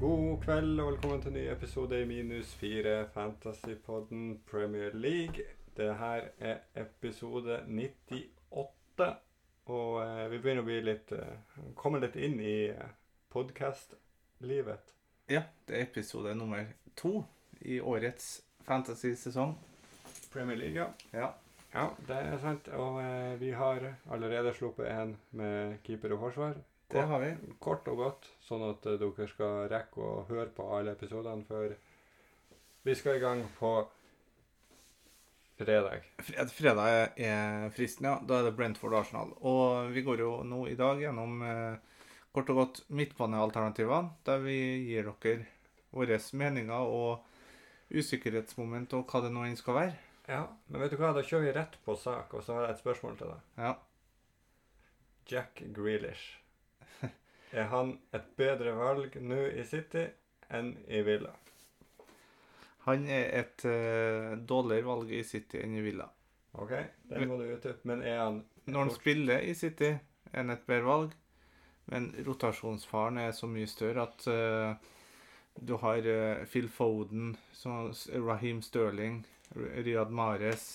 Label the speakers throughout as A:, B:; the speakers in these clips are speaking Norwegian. A: God kveld og velkommen til en ny episode i minus fire Fantasypodden Premier League. Det her er episode 98, og eh, vi begynner å bli litt eh, Komme litt inn i eh, podcast-livet.
B: Ja, det er episode nummer to i årets fantasy-sesong.
A: Premier League, ja.
B: Ja.
A: Ja, det er sant. Og eh, vi har allerede sluppet en med keeper og forsvar.
B: Det har vi.
A: Kort og godt, sånn at eh, dere skal rekke å høre på alle episodene før vi skal i gang på fredag.
B: Fred, fredag er fristen, ja. Da er det Brentford og Arsenal. Og vi går jo nå i dag gjennom eh, kort og godt midtbanealternativene, der vi gir dere våre meninger og usikkerhetsmoment og hva det nå enn skal være.
A: Ja, men vet du hva? Da kjører vi rett på sak, og så har jeg et spørsmål til deg.
B: Ja.
A: Jack Grealish. Er han et bedre valg nå i City enn i Villa?
B: Han er et eh, dårligere valg i City enn i Villa.
A: OK, den må du utdype. Men er han
B: Når han spiller i City, er han et bedre valg. Men rotasjonsfaren er så mye større at eh, du har eh, Phil Foden, så, Raheem Sterling, Riyad Mahrez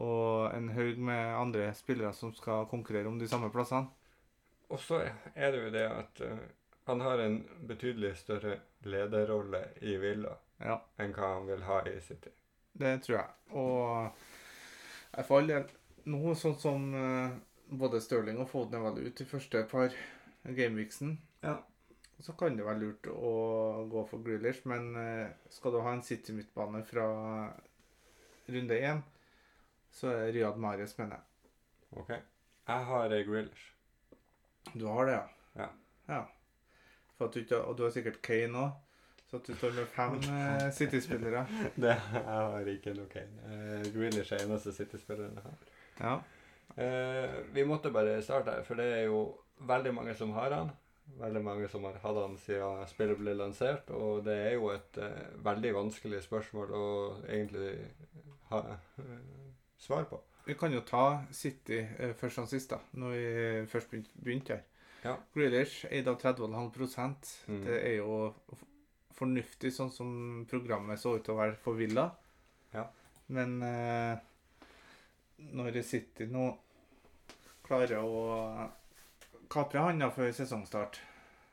B: og en haug med andre spillere som skal konkurrere om de samme plassene.
A: Og så er det jo det at eh, han har en betydelig større lederrolle i Villa
B: Ja,
A: enn hva han vil ha i City.
B: det tror jeg. Og jeg for all del nå, sånn som eh, både Sterling og Foden er vel ute i første par gameweeksen,
A: Ja.
B: Så kan det være lurt å gå for Grealish, men eh, skal du ha en City-midtbane fra runde én, så er Riyad Mahrez, mener jeg.
A: OK. Jeg har eh, Grealish.
B: Du har det, ja?
A: Ja.
B: Ja. For at du ikke, og du har sikkert Kane òg, så at du står med fem eh, City-spillere.
A: Det jeg har ikke noe Kane. Eh, Grealish er eneste City-spilleren jeg har.
B: Ja.
A: Eh, vi måtte bare starte her, for det er jo veldig mange som har han. Veldig mange som har hatt han siden spillet ble lansert, og det er jo et eh, veldig vanskelig spørsmål å egentlig ha eh, svar på.
B: Vi kan jo ta City eh, først som sist, da, når vi først begynt- begynte her.
A: Ja.
B: Grealish eid av 30,5
A: Mm.
B: Det er jo f- fornuftig, sånn som programmet så ut til å være for Villa.
A: Ja.
B: Men eh, når City nå klarer å kapre handa før sesongstart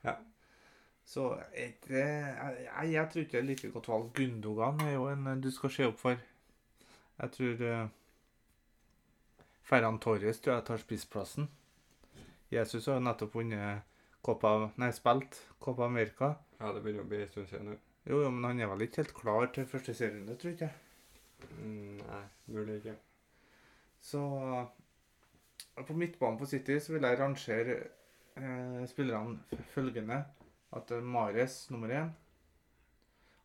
A: Ja.
B: Så er det jeg, jeg tror ikke det er like godt valg. Gundogan er jo en eh, du skal se opp for. Jeg tror eh, Ferran Torres tror jeg tar spissplassen. Jesus har jo nettopp vunnet Copa, nei, spilt Copa America.
A: Ja, det begynner å bli en stund siden nå.
B: Jo, jo, men han er vel ikke helt klar til første serierunde, tror jeg ikke.
A: Mm, Nei, mulig ikke.
B: Så eh, på midtbanen på City så vil jeg rangere eh, spillerne f- følgende. At eh, Mares nummer én.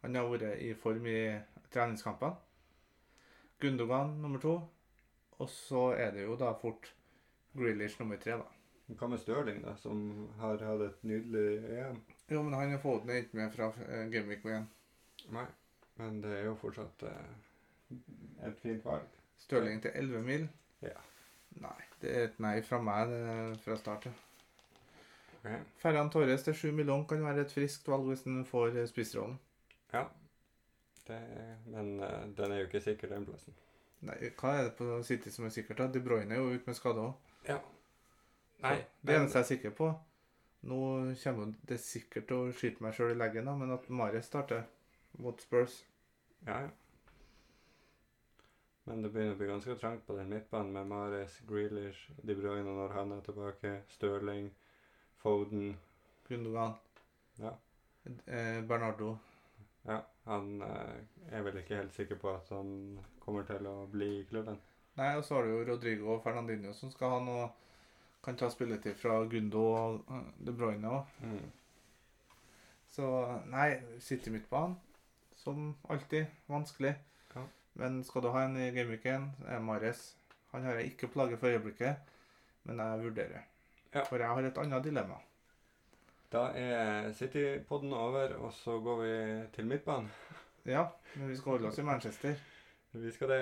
B: Han har vært i form i treningskampene. Gundogan nummer to. Og så er det jo da fort Grealish nummer tre, da.
A: Hva med Stirling, da, som har hatt et nydelig EM?
B: Jo, men han har fått den ikke med fra eh, Gameweek 1.
A: Nei, men det er jo fortsatt eh, et fint valg.
B: Stirling til 11 mil.
A: Ja.
B: Nei, det er et nei fra meg det, er fra start. ja.
A: Ok.
B: Ferran Torres til 7 millioner kan være et friskt valg hvis han får eh, spissrollen.
A: Det, men eh, den er jo ikke sikker, den plassen.
B: Nei, hva er det på City som er sikkert? da? De Bruyne er jo ute med skade òg.
A: Ja. Nei,
B: Det
A: men-
B: eneste jeg er sikker på Nå kommer jo det sikkert til å skyte meg sjøl i leggen, da, men at Marius starter mot Spurs
A: Ja, ja. Men det begynner å bli ganske trangt på den midtbanen med Mares, Grealish, De Bruyne når han er tilbake, Stirling, Foden
B: Gundogan,
A: Ja.
B: eh, Bernardo
A: Ja, han eh, er vel ikke helt sikker på at han kommer til å bli i klubben.
B: Nei, og så har du jo Rodrigo og Fernandinho som skal ha noe Kan ta spilletid fra Gundo og eh, De Bruyne òg.
A: Mm.
B: Så nei, City midtbanen, som alltid, vanskelig.
A: Ja.
B: Men skal du ha en i gameweeken, er Mares. Han har jeg ikke plaget for øyeblikket, men jeg vurderer.
A: Ja.
B: For jeg har et annet dilemma.
A: Da er City-podden over, og så går vi til midtbanen.
B: Ja, men vi skal holde oss i Manchester.
A: Vi skal det.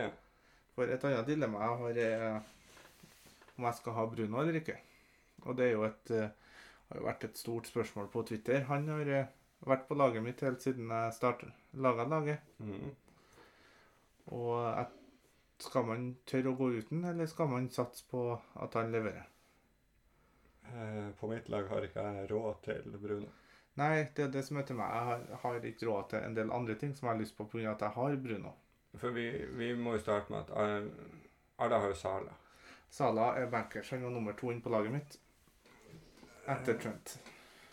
B: For et annet dilemma jeg har, er om jeg skal ha Bruno eller ikke. Og det er jo et, eh, har jo vært et stort spørsmål på Twitter. Han har eh, vært på laget mitt helt siden jeg startet laga laget.
A: Mm.
B: Og jeg, skal man tørre å gå uten, eller skal man satse på at han leverer?
A: Eh, På mitt lag har ikke jeg råd til Bruno.
B: Nei, det er det som er til meg. Jeg har, har ikke råd til en del andre ting som jeg har lyst på pga. at jeg har Bruno.
A: For vi, vi må jo starte med at Ar- Arda har jo Sala.
B: Sala er bankers. Han var nummer to inn på laget mitt. Etter Trent.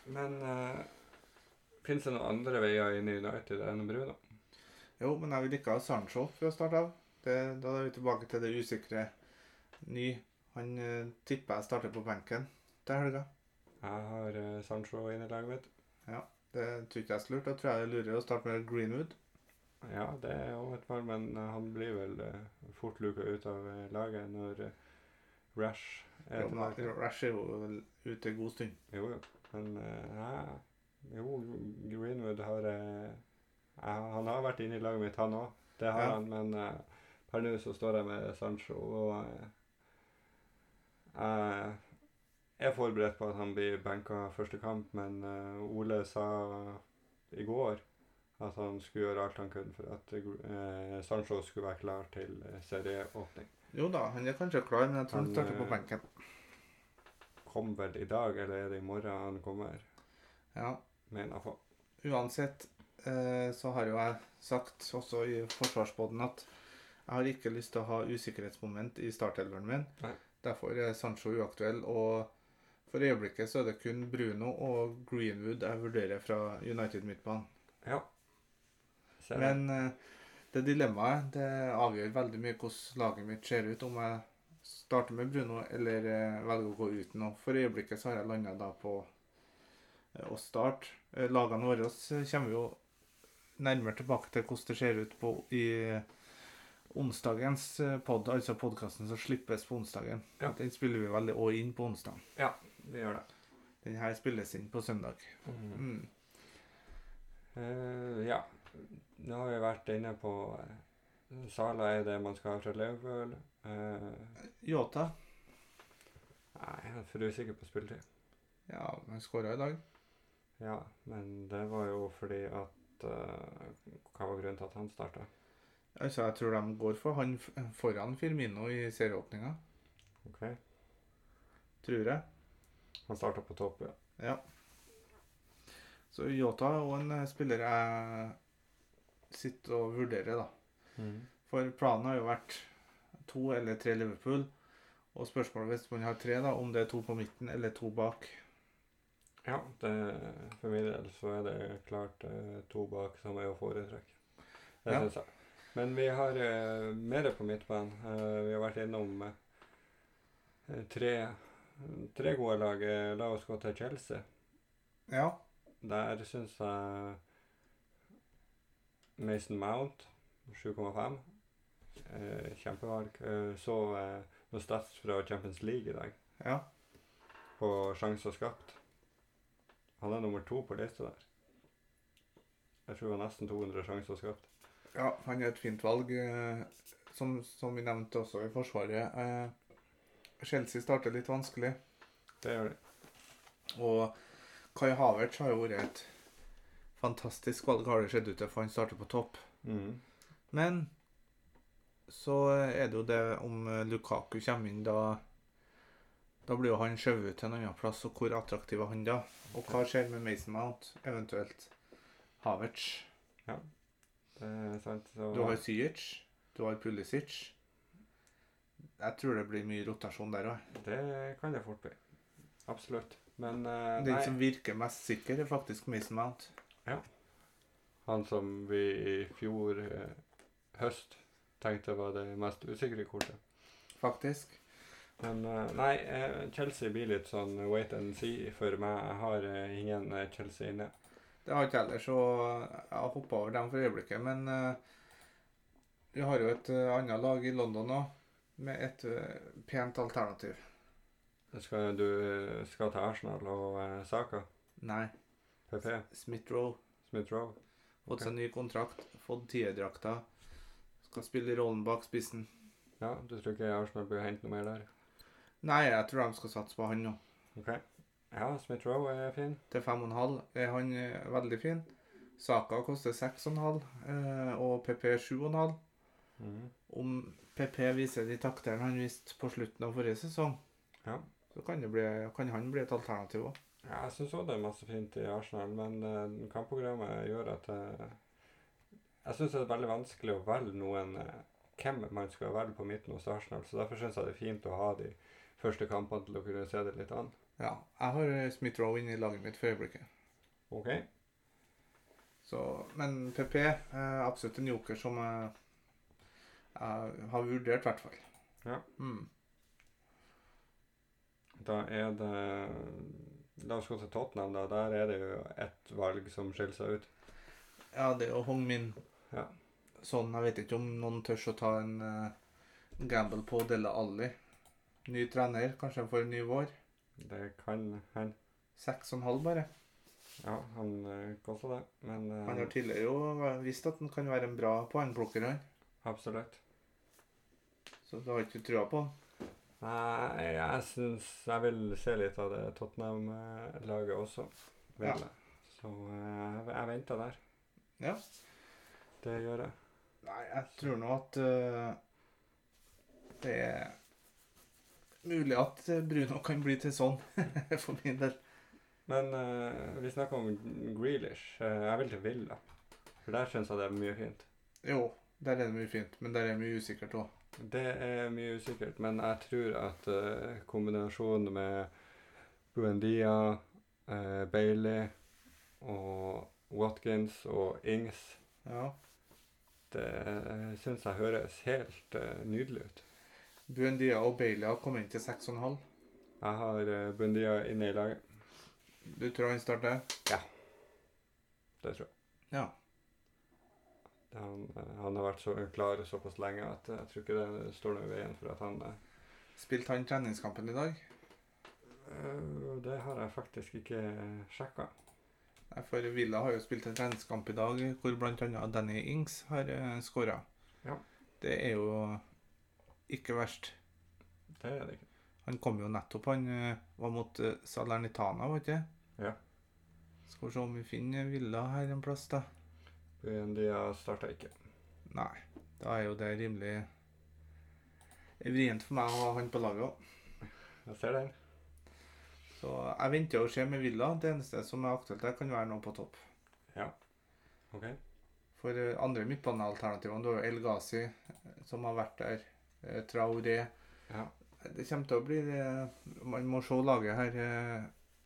A: Men uh, fins det noen andre veier inn i United enn Bruno?
B: Jo, men jeg vil ikke ha Sancho fra start av. Det, da er vi tilbake til det usikre ny. Han eh, tipper jeg starter på benken til helga.
A: Jeg har eh, Sancho inn i laget mitt.
B: Det tror ikke jeg er så lurt. Da tror jeg det er lurere å starte med Greenwood.
A: Ja, det er jo et par, men eh, han blir vel eh, fort luka ut av eh, laget når eh, Rash er
B: Jo, men
A: tilbake.
B: Rash er jo vel ute en god stund.
A: Jo, jo. Men eh, nei. Jo, Greenwood har eh, jeg- Han har vært inne i laget mitt, han òg. Det har
B: Ja.
A: han, men eh, per nå så står jeg med Sancho, og eh, jeg er forberedt på at han blir benka første kamp, men eh, Ole sa i går at han skulle gjøre alt han kunne for at eh, Sancho skulle være klar til eh, serieåpning.
B: Jo da, han er kanskje klar, men jeg tror han
A: Han,
B: starter på
A: eh,
B: benken.
A: Kom vel i dag, eller er det i morgen han kommer,
B: Ja.
A: mener jeg på.
B: Uansett eh, så har jo jeg sagt også i forsvarsbåten at jeg har ikke lyst til å ha usikkerhetsmoment i startelveren min.
A: Nei.
B: Derfor er Sancho uaktuell. Og for øyeblikket så er det kun Bruno og Greenwood jeg vurderer fra United midtbanen.
A: Ja. Ser jeg.
B: Men eh, det dilemmaet det avgjør veldig mye hvordan laget mitt ser ut, om jeg starter med Bruno eller eh, velger å gå uten. Og for øyeblikket så har jeg landa da på eh, å starte. Eh, Lagene våre eh, kommer jo nærmere tilbake til hvordan det ser ut på, i eh, onsdagens eh, pod, altså podkasten som slippes på onsdagen.
A: Ja.
B: Den spiller vi veldig òg inn på onsdag.
A: Vi gjør det.
B: Den her spilles inn på søndag. Mm.
A: Eh, ja. Nå har vi vært inne på eh, Sala er det man skal ha fra Liverpool. Eh,
B: Yota,
A: nei, jeg er for usikker på spilletid.
B: ja, han skåra i dag.
A: Ja, men det var jo fordi at eh, Hva var grunnen til at han starta?
B: Altså, jeg tror de går for han f- foran Firmino i serieåpninga.
A: Ok?
B: Tror jeg.
A: Han starta på topp, ja.
B: Så Yota er også en eh, spiller jeg sitter og vurderer, da. For planen har jo vært to eller tre Liverpool. Og spørsmålet hvis man har tre, da, om det er to på midten eller to bak.
A: Ja, det, for min del så er det klart eh, to bak som er å foretrekke. Det
B: Ja.
A: synes jeg. Men vi har eh, mer på midtbanen. Eh, vi har vært innom eh, tre, tre gode lag. Eh, La oss gå til Chelsea.
B: Ja.
A: Der syns jeg Mason Mount 7,5. Eh, kjempevalg. Eh, så eh, noen stats fra Champions League i dag
B: Ja.
A: på sjanser skapt. Han er nummer to på lista der. Jeg tror det var nesten 200 sjanser skapt.
B: ja han er et fint valg. eh, Som, som vi nevnte også i Forsvaret. Eh, Chelsea starter litt vanskelig.
A: Det gjør de.
B: Og Kai Havertz har jo vært et fantastisk valg, har det sett ut til, for han starter på topp.
A: Mhm.
B: Men så er det jo det om eh, Lukaku kommer inn, da Da blir jo han skjøvet ut til en annen plass, og hvor attraktiv er han da? Og hva skjer med Mason Mount, eventuelt Havertz?
A: Det er sant. Så,
B: Du har Syjic, du har Pulisic. Jeg tror det blir mye rotasjon der òg.
A: Det kan det fort bli. Absolutt. Men eh,
B: Den
A: nei,
B: som virker mest sikker, er faktisk Mason Mount.
A: han som vi i fjor eh, høst tenkte var det mest usikre kortet.
B: Faktisk.
A: Men eh, nei, eh, Chelsea blir litt sånn wait and see for meg. Jeg har eh, ingen eh, Chelsea inne.
B: Det har jeg ikke heller, så jeg har hoppa over dem for øyeblikket. Men eh, vi har jo et eh, annet lag i London òg, med et eh, pent alternativ.
A: Skal, du eh, skal til Arsenal og eh, Saka.
B: Nei,
A: PP.
B: Smith-Roe.
A: Smith-Roe.
B: Fått seg ny kontrakt, fått tierdrakta. Skal spille rollen bak spissen.
A: Ja, du tror ikke Arsenal bør hente noe mer der?
B: Nei, jeg tror de skal satse på han nå.
A: Ok. Ja, Smith Rowe er fin.
B: til 5,5 er han eh, veldig fin. Saka koster 6,5 eh, og PP 7,5.
A: Mhm.
B: Om PP viser de taktene han viste på slutten av forrige sesong,
A: Ja.
B: så kan, det bli, kan han bli et alternativ òg.
A: Ja, jeg syns òg det er masse fint i Arsenal, men eh, kampprogrammet gjør at eh, Jeg syns det er veldig vanskelig å velge noen eh, hvem man skal velge på midten hos Arsenal, så derfor syns jeg det er fint å ha de første kampene til å kunne se det litt an.
B: Ja, jeg har eh, Smith Rowe inne i laget mitt for øyeblikket.
A: OK?
B: Så, men PP er absolutt en joker som jeg, jeg har vurdert, i hvert fall.
A: Ja.
B: Mm.
A: Da er det La oss gå til Tottenham, da. Der er det jo ett valg som skiller seg ut.
B: Ja, det er jo Hong Min.
A: Ja.
B: Sånn, jeg vet ikke om noen tør å ta en eh, gamble på Della Alli. Ny trener, kanskje han får en ny vår.
A: Det kan hende.
B: Seks og en halv bare.
A: Ja, han eh, koster det, men eh,
B: Han har tidligere jo eh, visst at han kan være en bra poengplukker, han.
A: absolutt.
B: Så du har ikke trua på han.
A: Nei, jeg syns Jeg vil se litt av det Tottenham-laget også. Vil
B: Ja.
A: jeg. Så eh, jeg, jeg venter der.
B: Ja.
A: Det gjør jeg.
B: Nei, jeg tror nå at eh, det er mulig at eh, Bruno kan bli til sånn, for min del.
A: Men eh, vi snakker om Grealish. Eh, jeg vil til Villa. For der syns jeg det er mye fint.
B: Jo, der er det mye fint, men der er det mye usikkert òg.
A: Det er mye usikkert, men jeg tror at eh, kombinasjonen med Buendia, eh, Bailey og Watkins og Ings
B: Ja.
A: Det syns eh, jeg høres helt eh, nydelig ut.
B: Buendia og Bailey har kommet inn til seks og en halv.
A: Jeg har eh, Bundia inne i laget.
B: Du tror han starter?
A: Det tror jeg.
B: Ja.
A: Det er Han, eh, han har vært så klar såpass lenge at jeg tror ikke det står noe i veien for at han eh,
B: Spilte han treningskampen i dag?
A: øh, Det har jeg faktisk ikke sjekka.
B: Nei, For Villa har jo spilt en treningskamp i dag hvor bl.a. Danny Ings har uh, skåra.
A: Ja.
B: Det er jo ikke verst.
A: Det er det ikke.
B: Han kom jo nettopp, han eh, var mot eh, Salernitana, var ikke det?
A: Ja.
B: Skal vi se om vi finner Villa her en plass, da.
A: Bundia starta ikke.
B: Nei, da er jo det rimelig eh, vrient for meg å ha han på laget òg.
A: Jeg ser den.
B: Så jeg venter å se med Villa. Det eneste som er aktuelt der, kan være noe på topp.
A: OK.
B: For eh, andre midtbanealternativene, du har jo El Ghazi, eh, som har vært der, eh, Traoré
A: Ja.
B: Det kommer til å bli det. Man må se laget her eh,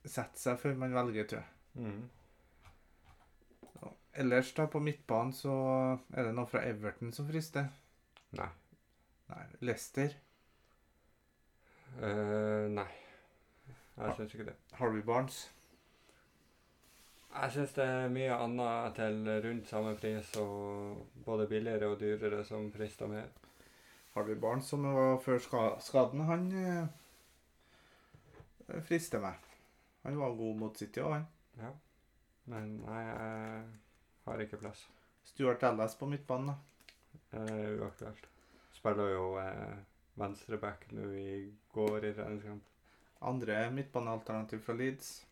B: sette seg før man velger, tror jeg.
A: Mhm.
B: Ellers da, på midtbanen så er det noe fra Everton som frister.
A: Nei.
B: Nei, Leicester,
A: Eh, nei. Jeg
B: Ja.
A: syns ikke det.
B: Harvey Barnes.
A: Jeg syns det er mye annet til rundt samme pris, og både billigere og dyrere, som frister mer.
B: Harvey Barnes, som var før ska skaden, han eh, frister meg. Han var god mot City òg, han.
A: Ja. Men nei, jeg har ikke plass.
B: Stuart Dallas på midtbanen, da.
A: Eh, uaktuelt. Spiller jo eh, venstreback nå i går i treningskamp.
B: Andre midtbanealternativ fra Leeds.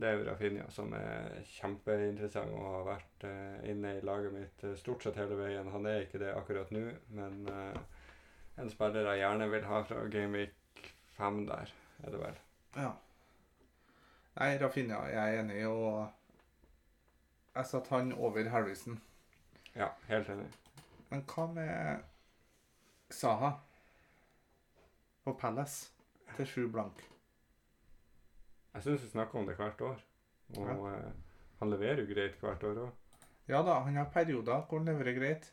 A: Det er jo Rafinha som er kjempeinteressant og har vært eh, inne i laget mitt eh, stort sett hele veien. Han er ikke det akkurat nå, men eh, en spiller jeg gjerne vil ha fra Gameweek 5 der, er det vel.
B: Ja. Nei, Rafinha jeg er enig i, og jeg satte han over Harrison.
A: Ja, helt enig.
B: Men hva med Saha på Palace til sju blank?
A: Jeg syns vi snakker om det hvert år, og eh, han leverer jo greit hvert år òg.
B: Ja da, han har perioder hvor han leverer greit,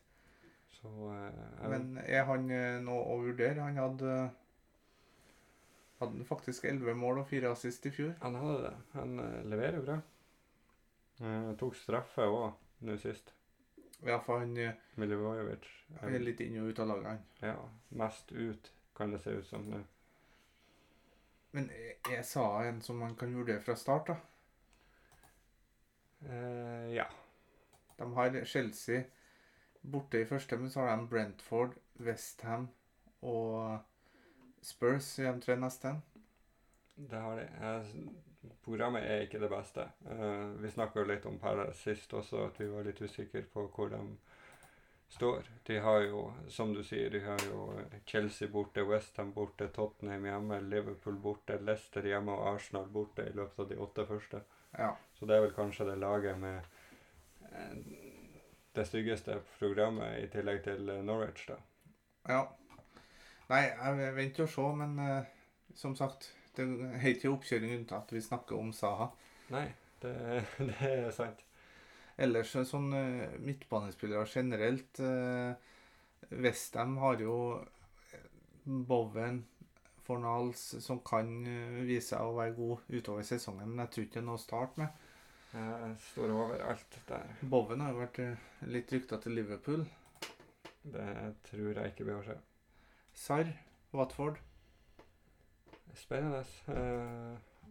A: Så eh, jeg,
B: men er han eh, noe å vurdere? Han hadde hadde han faktisk 11 mål og 4 assist i fjor.
A: Han hadde det. Han eh, leverer jo bra. Eh, tok straffe òg nå sist.
B: I hvert fall han eh,
A: Milivojevic. eh,
B: han er litt inn og ut av laget, han.
A: Ja, mest ut kan det se ut som nå.
B: Men er Saha en som man kan vurdere fra start, da?
A: Eh, ja.
B: De har Chelsea borte i første, men så har de Brentford, Westham og Spurs i de tre neste.
A: Det har de. Jeg s- programmet er ikke det beste. Eh, vi snakka litt om Palace sist også, at vi var litt usikre på hvor de står. De har jo, som du sier, de har jo Chelsea borte, Westham borte, Tottenham hjemme, Liverpool borte, Leicester hjemme og Arsenal borte i løpet av de åtte første.
B: Ja.
A: Så det er vel kanskje det laget med eh, det styggeste programmet, i tillegg til eh, Norwich, da.
B: ja. Nei, jeg venter og ser, men eh, som sagt Det heter jo oppkjøring uten at vi snakker om Saha.
A: Nei, det, det er sant.
B: Ellers eh, sånn eh, midtbanespillere generelt eh, Westham har jo eh, Bowen, Fornals, som kan eh, vise seg å være god utover sesongen, men jeg tror ikke det er noe å starte med.
A: Jeg står overalt der.
B: Bowen har jo vært eh, litt rykta til Liverpool.
A: Det tror jeg ikke blir å skje.
B: Sarr, Watford,
A: Spennende. Eh,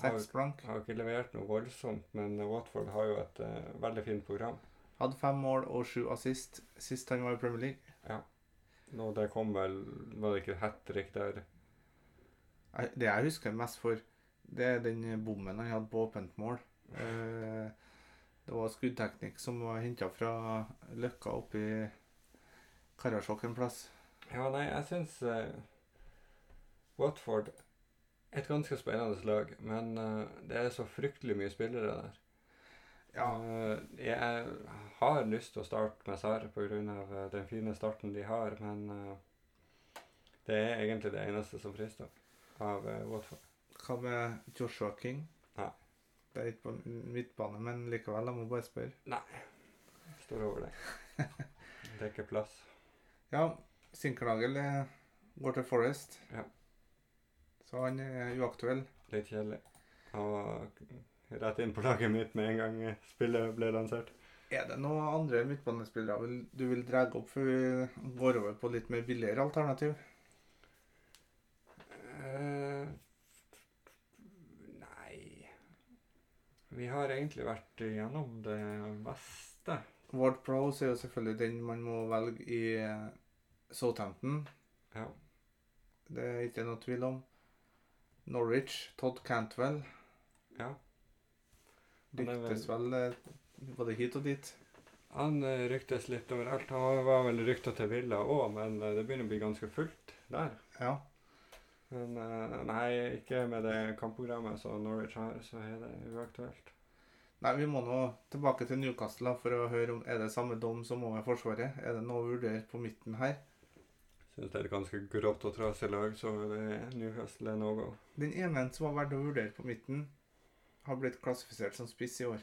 A: har,
B: seks blank.
A: har ikke levert noe voldsomt, men Watford har jo et eh, veldig fint program.
B: Hadde fem mål og sju assist sist han var i Premier League.
A: Nå det kom vel Var det ikke hat trick der?
B: Jeg- Det jeg husker mest for, det er den bommen han hadde på åpent mål. Eh, Det var skuddteknikk som var henta fra Løkka oppe i Karasjok en plass.
A: Ja, nei, jeg syns eh, Watford er et ganske spennende lag, men eh, det er så fryktelig mye spillere der. Eh, jeg har lyst til å starte med Sarre pga. eh, den fine starten de har, men eh, det er egentlig det eneste som frister av eh, Watford.
B: Hva med Joshua King?
A: Nei.
B: Det er ikke på midtbane, men likevel, jeg må bare spørre.
A: Står over det. Det er ikke plass.
B: Ja, Sinkernagel eh, går til Forest.
A: Ja.
B: Så han er uaktuell.
A: Litt kjedelig. Han var rett inn på laget mitt med en gang eh, spillet ble lansert.
B: Er det noen andre midtbanespillere vil- du vil dra opp før vi går over på litt mer billigere alternativ?
A: Eh, nei Vi har egentlig vært gjennom det meste.
B: Ward Prowse er jo selvfølgelig den man må velge i eh, Southampton.
A: Ja.
B: Det er ikke noe tvil om. Norwich, Todd Cantwell.
A: ja. Han er vel-
B: Ryktes vel eh, både hit og dit.
A: Han eh, ryktes litt overalt. Han var vel rykta til Villa òg, men eh, det begynner å bli ganske fullt der.
B: Ja.
A: Men eh, nei, ikke med det kampprogrammet som Norwich har, så er det uaktuelt.
B: Nei, vi må nå tilbake til Newcastle da, for å høre om er det samme dom som over Forsvaret. Er det noe å vurdere på midten her?
A: Syns det er et ganske grått og trasig lag, så det er Newcastle er no go.
B: Den ene som har vært å vurdere på midten, har blitt klassifisert som spiss i år.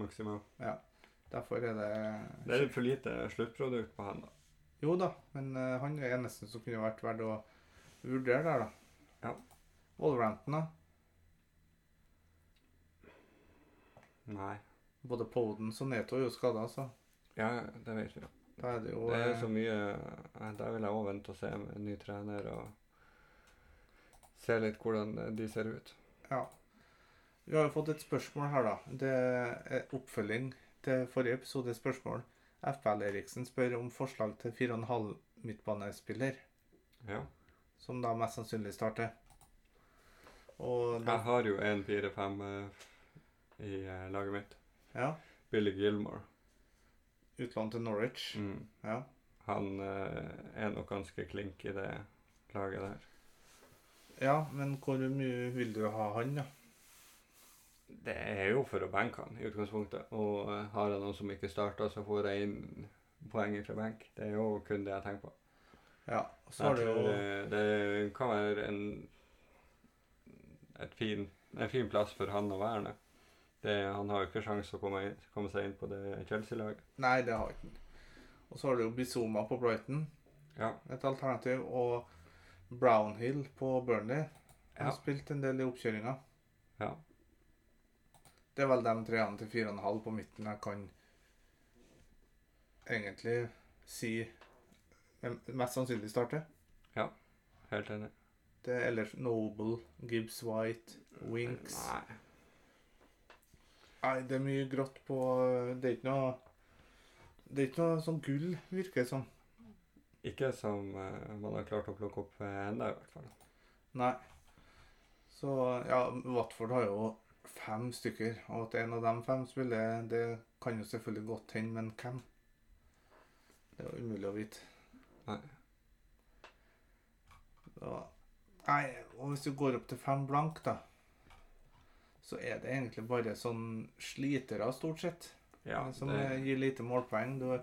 A: Maximal.
B: Derfor er det
A: Det er litt for lite sluttprodukt på han, da.
B: Jo da, men eh, han er eneste som kunne vært verdt å vurdere der, da.
A: Ja.
B: Wolverhampton, da.
A: Nei.
B: Både Podens og Neto er jo skada, så
A: Ja, det vet vi.
B: da er det jo
A: Det er
B: eh,
A: så mye eh, Der vil jeg òg vente og se med en ny trener og se litt hvordan eh, de ser ut.
B: Ja. Vi har jo fått et spørsmål her, da. Det er oppfølging til forrige episode spørsmål. FPL Eriksen spør om forslag til 4,5 midtbanespiller,
A: Ja.
B: som da mest sannsynlig starter. Og da,
A: Jeg har jo en 4-5 eh, i eh, laget mitt.
B: ja,
A: Billy Gilmore.
B: utlån til Norwich.
A: Mm.
B: Ja.
A: Han eh, er nok ganske klink i det laget der.
B: ja, men hvor mye vil du ha han, da?
A: Det er jo for å benke han i utgangspunktet. Og eh, har jeg noen som ikke starter, så får jeg inn poeng fra benk. Det er jo kun det jeg tenker på.
B: Ja, og så
A: Jeg
B: har du
A: tror eh,
B: jo
A: det, det kan være en, et fin, en fin plass for han å være. det. Det, han har jo ikke sjanse å komme, inn, komme seg inn på det Chelsea-laget.
B: Nei, det har ikke han. Og så har du jo Bizoma på Brighton,
A: Ja.
B: et alternativ, og Brownhill på Burnley. Han
A: Ja.
B: har spilt en del i oppkjøringa.
A: ja.
B: Det er vel de treene til fire og en halv på midten jeg kan egentlig si hvem mest sannsynlig starte.
A: Helt enig.
B: Det er ellers Noble, Gibbs White, Winks.
A: Nei.
B: Nei, det er mye grått på Det er ikke noe Det er ikke noe sånn gull, virker det som.
A: Ikke som eh, man har klart å plukke opp eh, enda i hvert fall.
B: Nei. Så Så ja, Watford har jo fem stykker, og at en av de fem spiller, det kan jo selvfølgelig godt hende, men hvem? Det er jo umulig å vite.
A: Nei.
B: Da, nei, og hvis du går opp til fem blank, da, så er det egentlig bare sånn slitere, stort sett,
A: Ja,
B: som eh,
A: det,
B: gir lite målpoeng. Du har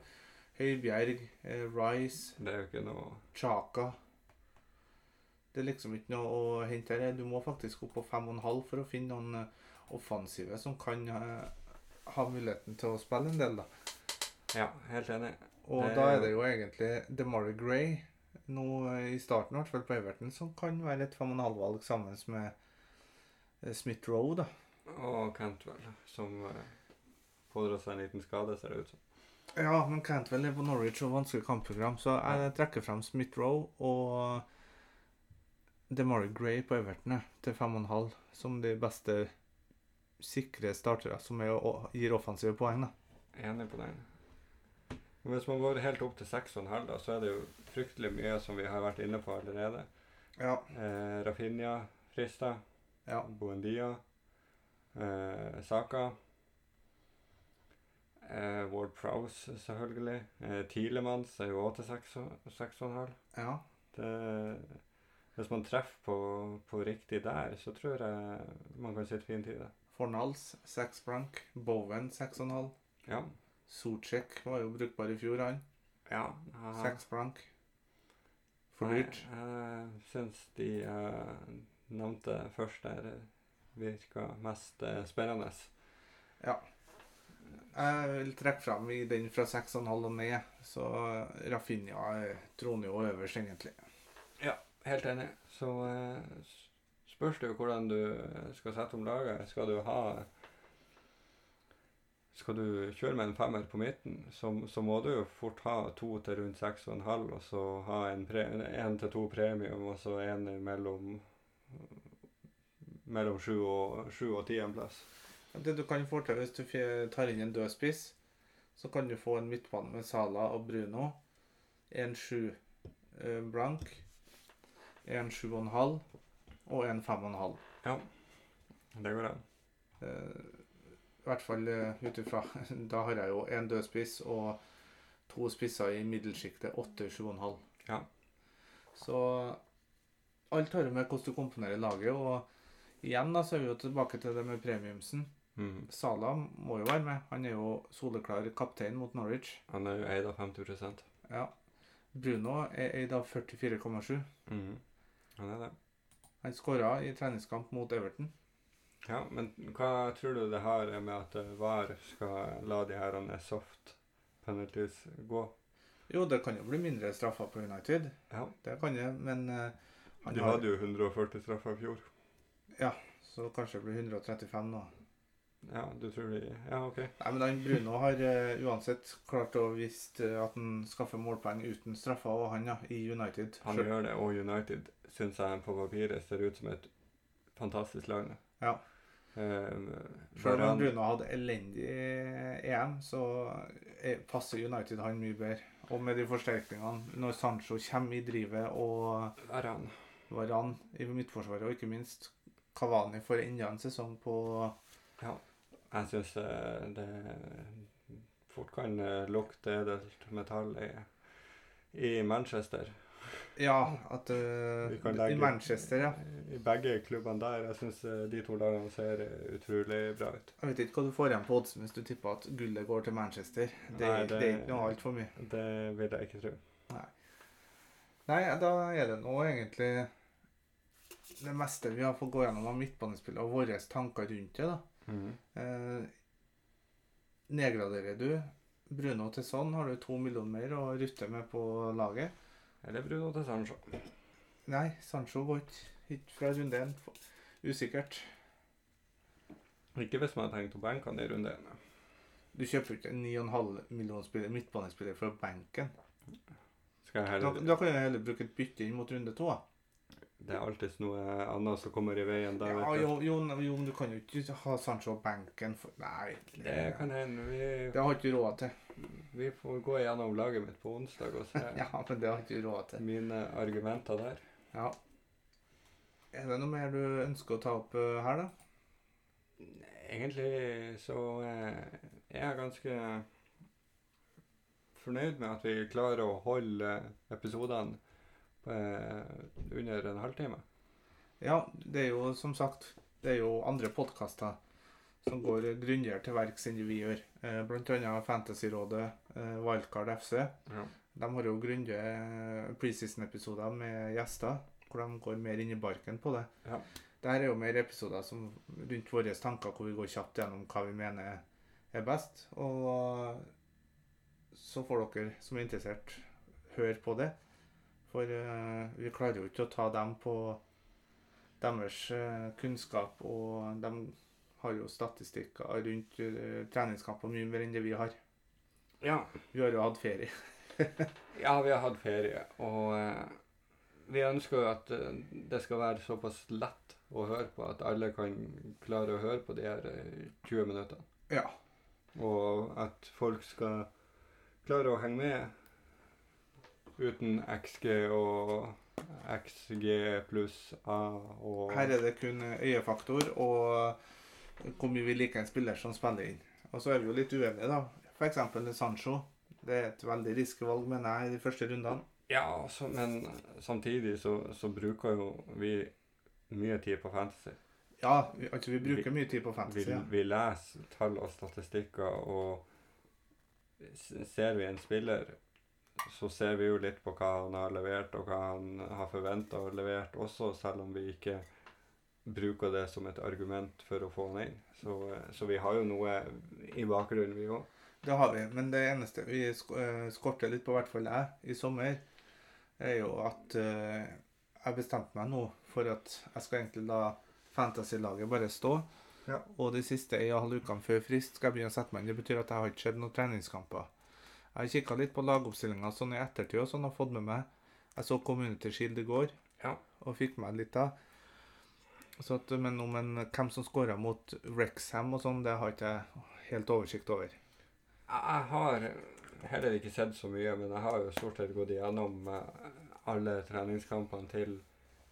B: Høibjerg, eh, Rice,
A: det er jo ikke noe
B: Chaka. Det er liksom ikke noe å hente her. Du må faktisk opp på 5,5 for å finne noen eh, offensive som kan eh, ha muligheten til å spille en del, da.
A: Ja, helt enig.
B: Og
A: Det-
B: da er det jo egentlig DeMarie Gray nå eh, i starten, i hvert fall på Everton, som kan være et 5,5-valg sammen med eh, Smith Roe, da.
A: Og Cantwell, som eh, pådro seg en liten skade, ser det ut som.
B: Ja, men Cantwell er på Norwich og vanskelig kampprogram, så jeg trekker fram Smith Roe og DeMarie Gray på Everton jeg, til 5,5 som de beste sikre startere som er, å- gir offensive poeng, da.
A: Enig på den. Men hvis man går helt opp til 6,5, da, så er det jo fryktelig mye som vi har vært inne på allerede.
B: Ja.
A: Eh, Rafinha, Frista,
B: Ja.
A: Buendia, eh, Saka. Eh, Ward Prowse, selvfølgelig. Eh, Tilemanns er jo også til seks og- 6,5.
B: ja.
A: Det, hvis man treffer på, på riktig der, så tror jeg man kan sitte fint i det.
B: Fornals, 6 blank. Bowen, 6,5.
A: Ja.
B: Socek var jo brukbar i fjor, han.
A: ja jeg-
B: Seks blank. For dyrt.
A: Nei, Jeg syns de jeg nevnte først der eh, virka mest eh, spennende.
B: Jeg vil trekke fram i den fra 6,5 og ned, så Rafinha eh, troner jo øverst, egentlig.
A: Helt enig. Så eh, s- spørs det jo hvordan du skal sette om laget. Skal du ha Skal du kjøre med en femmer på midten, så, så må du jo fort ha to til rundt seks og en halv, og så ha en, pre, en til to premium, og så en mellom mellom sju og, sju og ti en plass.
B: Det du kan få til hvis du fje- tar inn en dødspiss, så kan du få en midtbane med Sala og Bruno. En 7 eh, blank. En 7,5 og en 5,5.
A: Det går an.
B: Eh, I hvert fall eh, ut ifra Da har jeg jo en dødspiss og to spisser i middelsjiktet. 8-7,5.
A: Ja.
B: Så alt har jo med hvordan du komponerer laget. Og igjen da, så er vi jo tilbake til det med premiumsen. Mm.
A: Mhm.
B: Sala må jo være med. Han er jo soleklar kaptein mot Norwich.
A: Han er jo eid av 50
B: Ja. Bruno er eid av 44,7.
A: Mhm. Han er det.
B: Han skåra i treningskamp mot Everton.
A: Ja, men hva tror du det har med at eh, VAR skal la de her eh, soft penalties gå?
B: Jo, det kan jo bli mindre straffer på United.
A: Ja.
B: Det kan det, men eh, han
A: De
B: har-
A: hadde jo 140 straffer i fjor.
B: Så kanskje det blir 135 nå.
A: Ja, du tror de Ja, OK.
B: Nei, men han Bruno har eh, uansett klart å vist eh, at han skaffer målpoeng uten straffer, og han ja, i United.
A: Han
B: Selv-
A: gjør det, og United syns jeg på papiret ser ut som et fantastisk lag. nå.
B: Ja.
A: Eh,
B: Selv om
A: Varane-
B: Bruno hadde elendig EM, så eh, passer United han mye bedre. Og med de forsterkningene, når Sancho kommer i drivet og
A: Varane.
B: Varan i midtforsvaret, og ikke minst Kavani får enda en sesong på
A: Jeg syns det fort kan eh, lukte edelt metall i, i Manchester.
B: Ja, at eh,
A: Vi kan
B: I
A: legge-
B: Manchester, ja.
A: I begge klubbene der. Jeg syns de to lagene ser eh, utrolig bra ut.
B: Jeg vet ikke hva du får igjen på oddsen hvis du tipper at gullet går til Manchester. Det,
A: Nei,
B: det...
A: det-
B: er ikke noe altfor mye.
A: Det vil jeg ikke tro.
B: Nei, da er det nå egentlig det meste vi har fått gå gjennom av midtbanespillet og våre tanker rundt det. da. Eh, nedgraderer du Bruno til sånn, har du to millioner mer å rutte med på laget.
A: Eller Bruno til Sancho.
B: Nei, Sancho går ikke ikke fra runde én. F- Usikkert.
A: Ikke hvis man har tenkt å benke han i runde én.
B: Du kjøper ikke en 9,5 millionspiller midtbanespiller fra benken.
A: Skal jeg
B: Da,
A: heller-
B: da kan du heller bruke et bytte inn mot runde to. da.
A: Det er alltid noe annet som kommer i veien der,
B: Ja,
A: vet du.
B: jo, jo, jo, men du kan jo ikke ha Sancho på benken for Nei.
A: Det kan hende.
B: det har ikke du råd til.
A: Vi, vi får gå gjennom laget mitt på onsdag og se
B: Ja, men det har ikke du råd til.
A: mine argumenter der.
B: Ja. Er det noe mer du ønsker å ta opp eh, her, da?
A: Egentlig så eh, jeg er ganske fornøyd med at vi klarer å holde episodene eh, under en halvtime.
B: Ja, det er jo som sagt Det er jo andre podkaster som går grundigere til verks enn det vi gjør. Eh, Blant annet Fantasyrådet, eh, Wildcard FC.
A: Ja.
B: De har jo grundige eh, preseason-episoder med gjester, hvor de går mer inn i barken på det.
A: Ja.
B: Dette er jo mer episoder som, rundt våre tanker, hvor vi går kjapt gjennom hva vi mener er best. Og eh, så får dere som er interessert, høre på det. For eh, vi klarer jo ikke å ta dem på deres eh, kunnskap, og de har jo statistikker rundt eh, treningskamper mye mer enn det vi har.
A: ja.
B: Vi har jo hatt ferie.
A: Ja, vi har hatt ferie, og eh, vi ønsker jo at eh, det skal være såpass lett å høre på at alle kan klare å høre på de her eh, 20 minuttene.
B: Ja.
A: Og at folk skal klare å henge med uten XG og XG pluss A og
B: Her er det kun eh, øyefaktor og hvor mye vi liker en spiller som spiller inn. Og så er vi jo litt uenige, da. F.eks. Sancho. Det er et veldig risky valg, mener jeg, i de første rundene.
A: Ja, så, men samtidig så, så bruker jo vi mye tid på fantasy.
B: Ja, vi, altså vi bruker mye tid på
A: vi,
B: fantasy. Ja.
A: vi leser tall og statistikker, og s- ser vi en spiller, så ser vi jo litt på hva han har levert, og hva han har forventa og levert også, selv om vi ikke bruker det som et argument for å få han inn. Så, eh, så vi har jo noe i bakgrunnen, vi òg.
B: Det har vi, men det eneste vi sk- eh, skorter litt på, i hvert fall jeg, i sommer, er jo at eh, jeg bestemte meg nå for at jeg skal egentlig la fantasy-laget bare stå.
A: Ja.
B: Og de siste en og en halv ukene før frist skal jeg begynne å sette meg inn. Det betyr at jeg har ikke sett noen treningskamper. Jeg har kikka litt på lagoppstillinga sånn i ettertid og sånn, og fått med meg Jeg så Community Shield i går
A: Ja.
B: og fikk med meg litt av. Så at, men om en, hvem som skåra mot Rexham og sånn, det har ikke jeg helt oversikt over.
A: Jeg jeg har heller ikke sett så mye, men jeg har jo stort sett gått igjennom eh, alle treningskampene til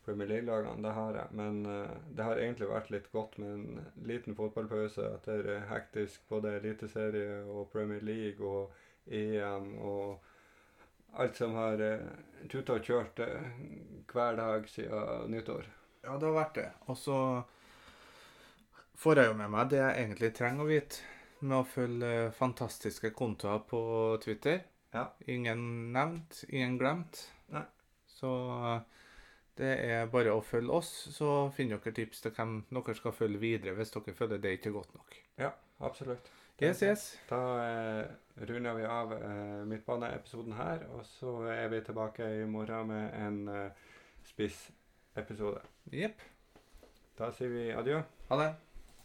A: Premier League-lagene. Det har jeg. Men eh, det har egentlig vært litt godt med en liten fotballpause etter eh, hektisk både Eliteserie og Premier League og EM og alt som har eh, tuta og kjørt eh, hver dag siden nyttår.
B: Ja, det har vært det. Og så får jeg jo med meg det jeg egentlig trenger å vite, med å følge fantastiske kontoer på Twitter.
A: Ja.
B: Ingen nevnt, ingen glemt.
A: Nei.
B: Så eh, det er bare å følge oss, så finner dere tips til hvem dere skal følge videre hvis dere føler det ikke er godt nok.
A: Absolutt.
B: Yes, yes.
A: Da eh, runder vi av eh, midtbaneepisoden her, og så er vi tilbake i morgen med en eh, spissepisode.
B: Jepp.
A: Da sier vi adjø.
B: Ha det.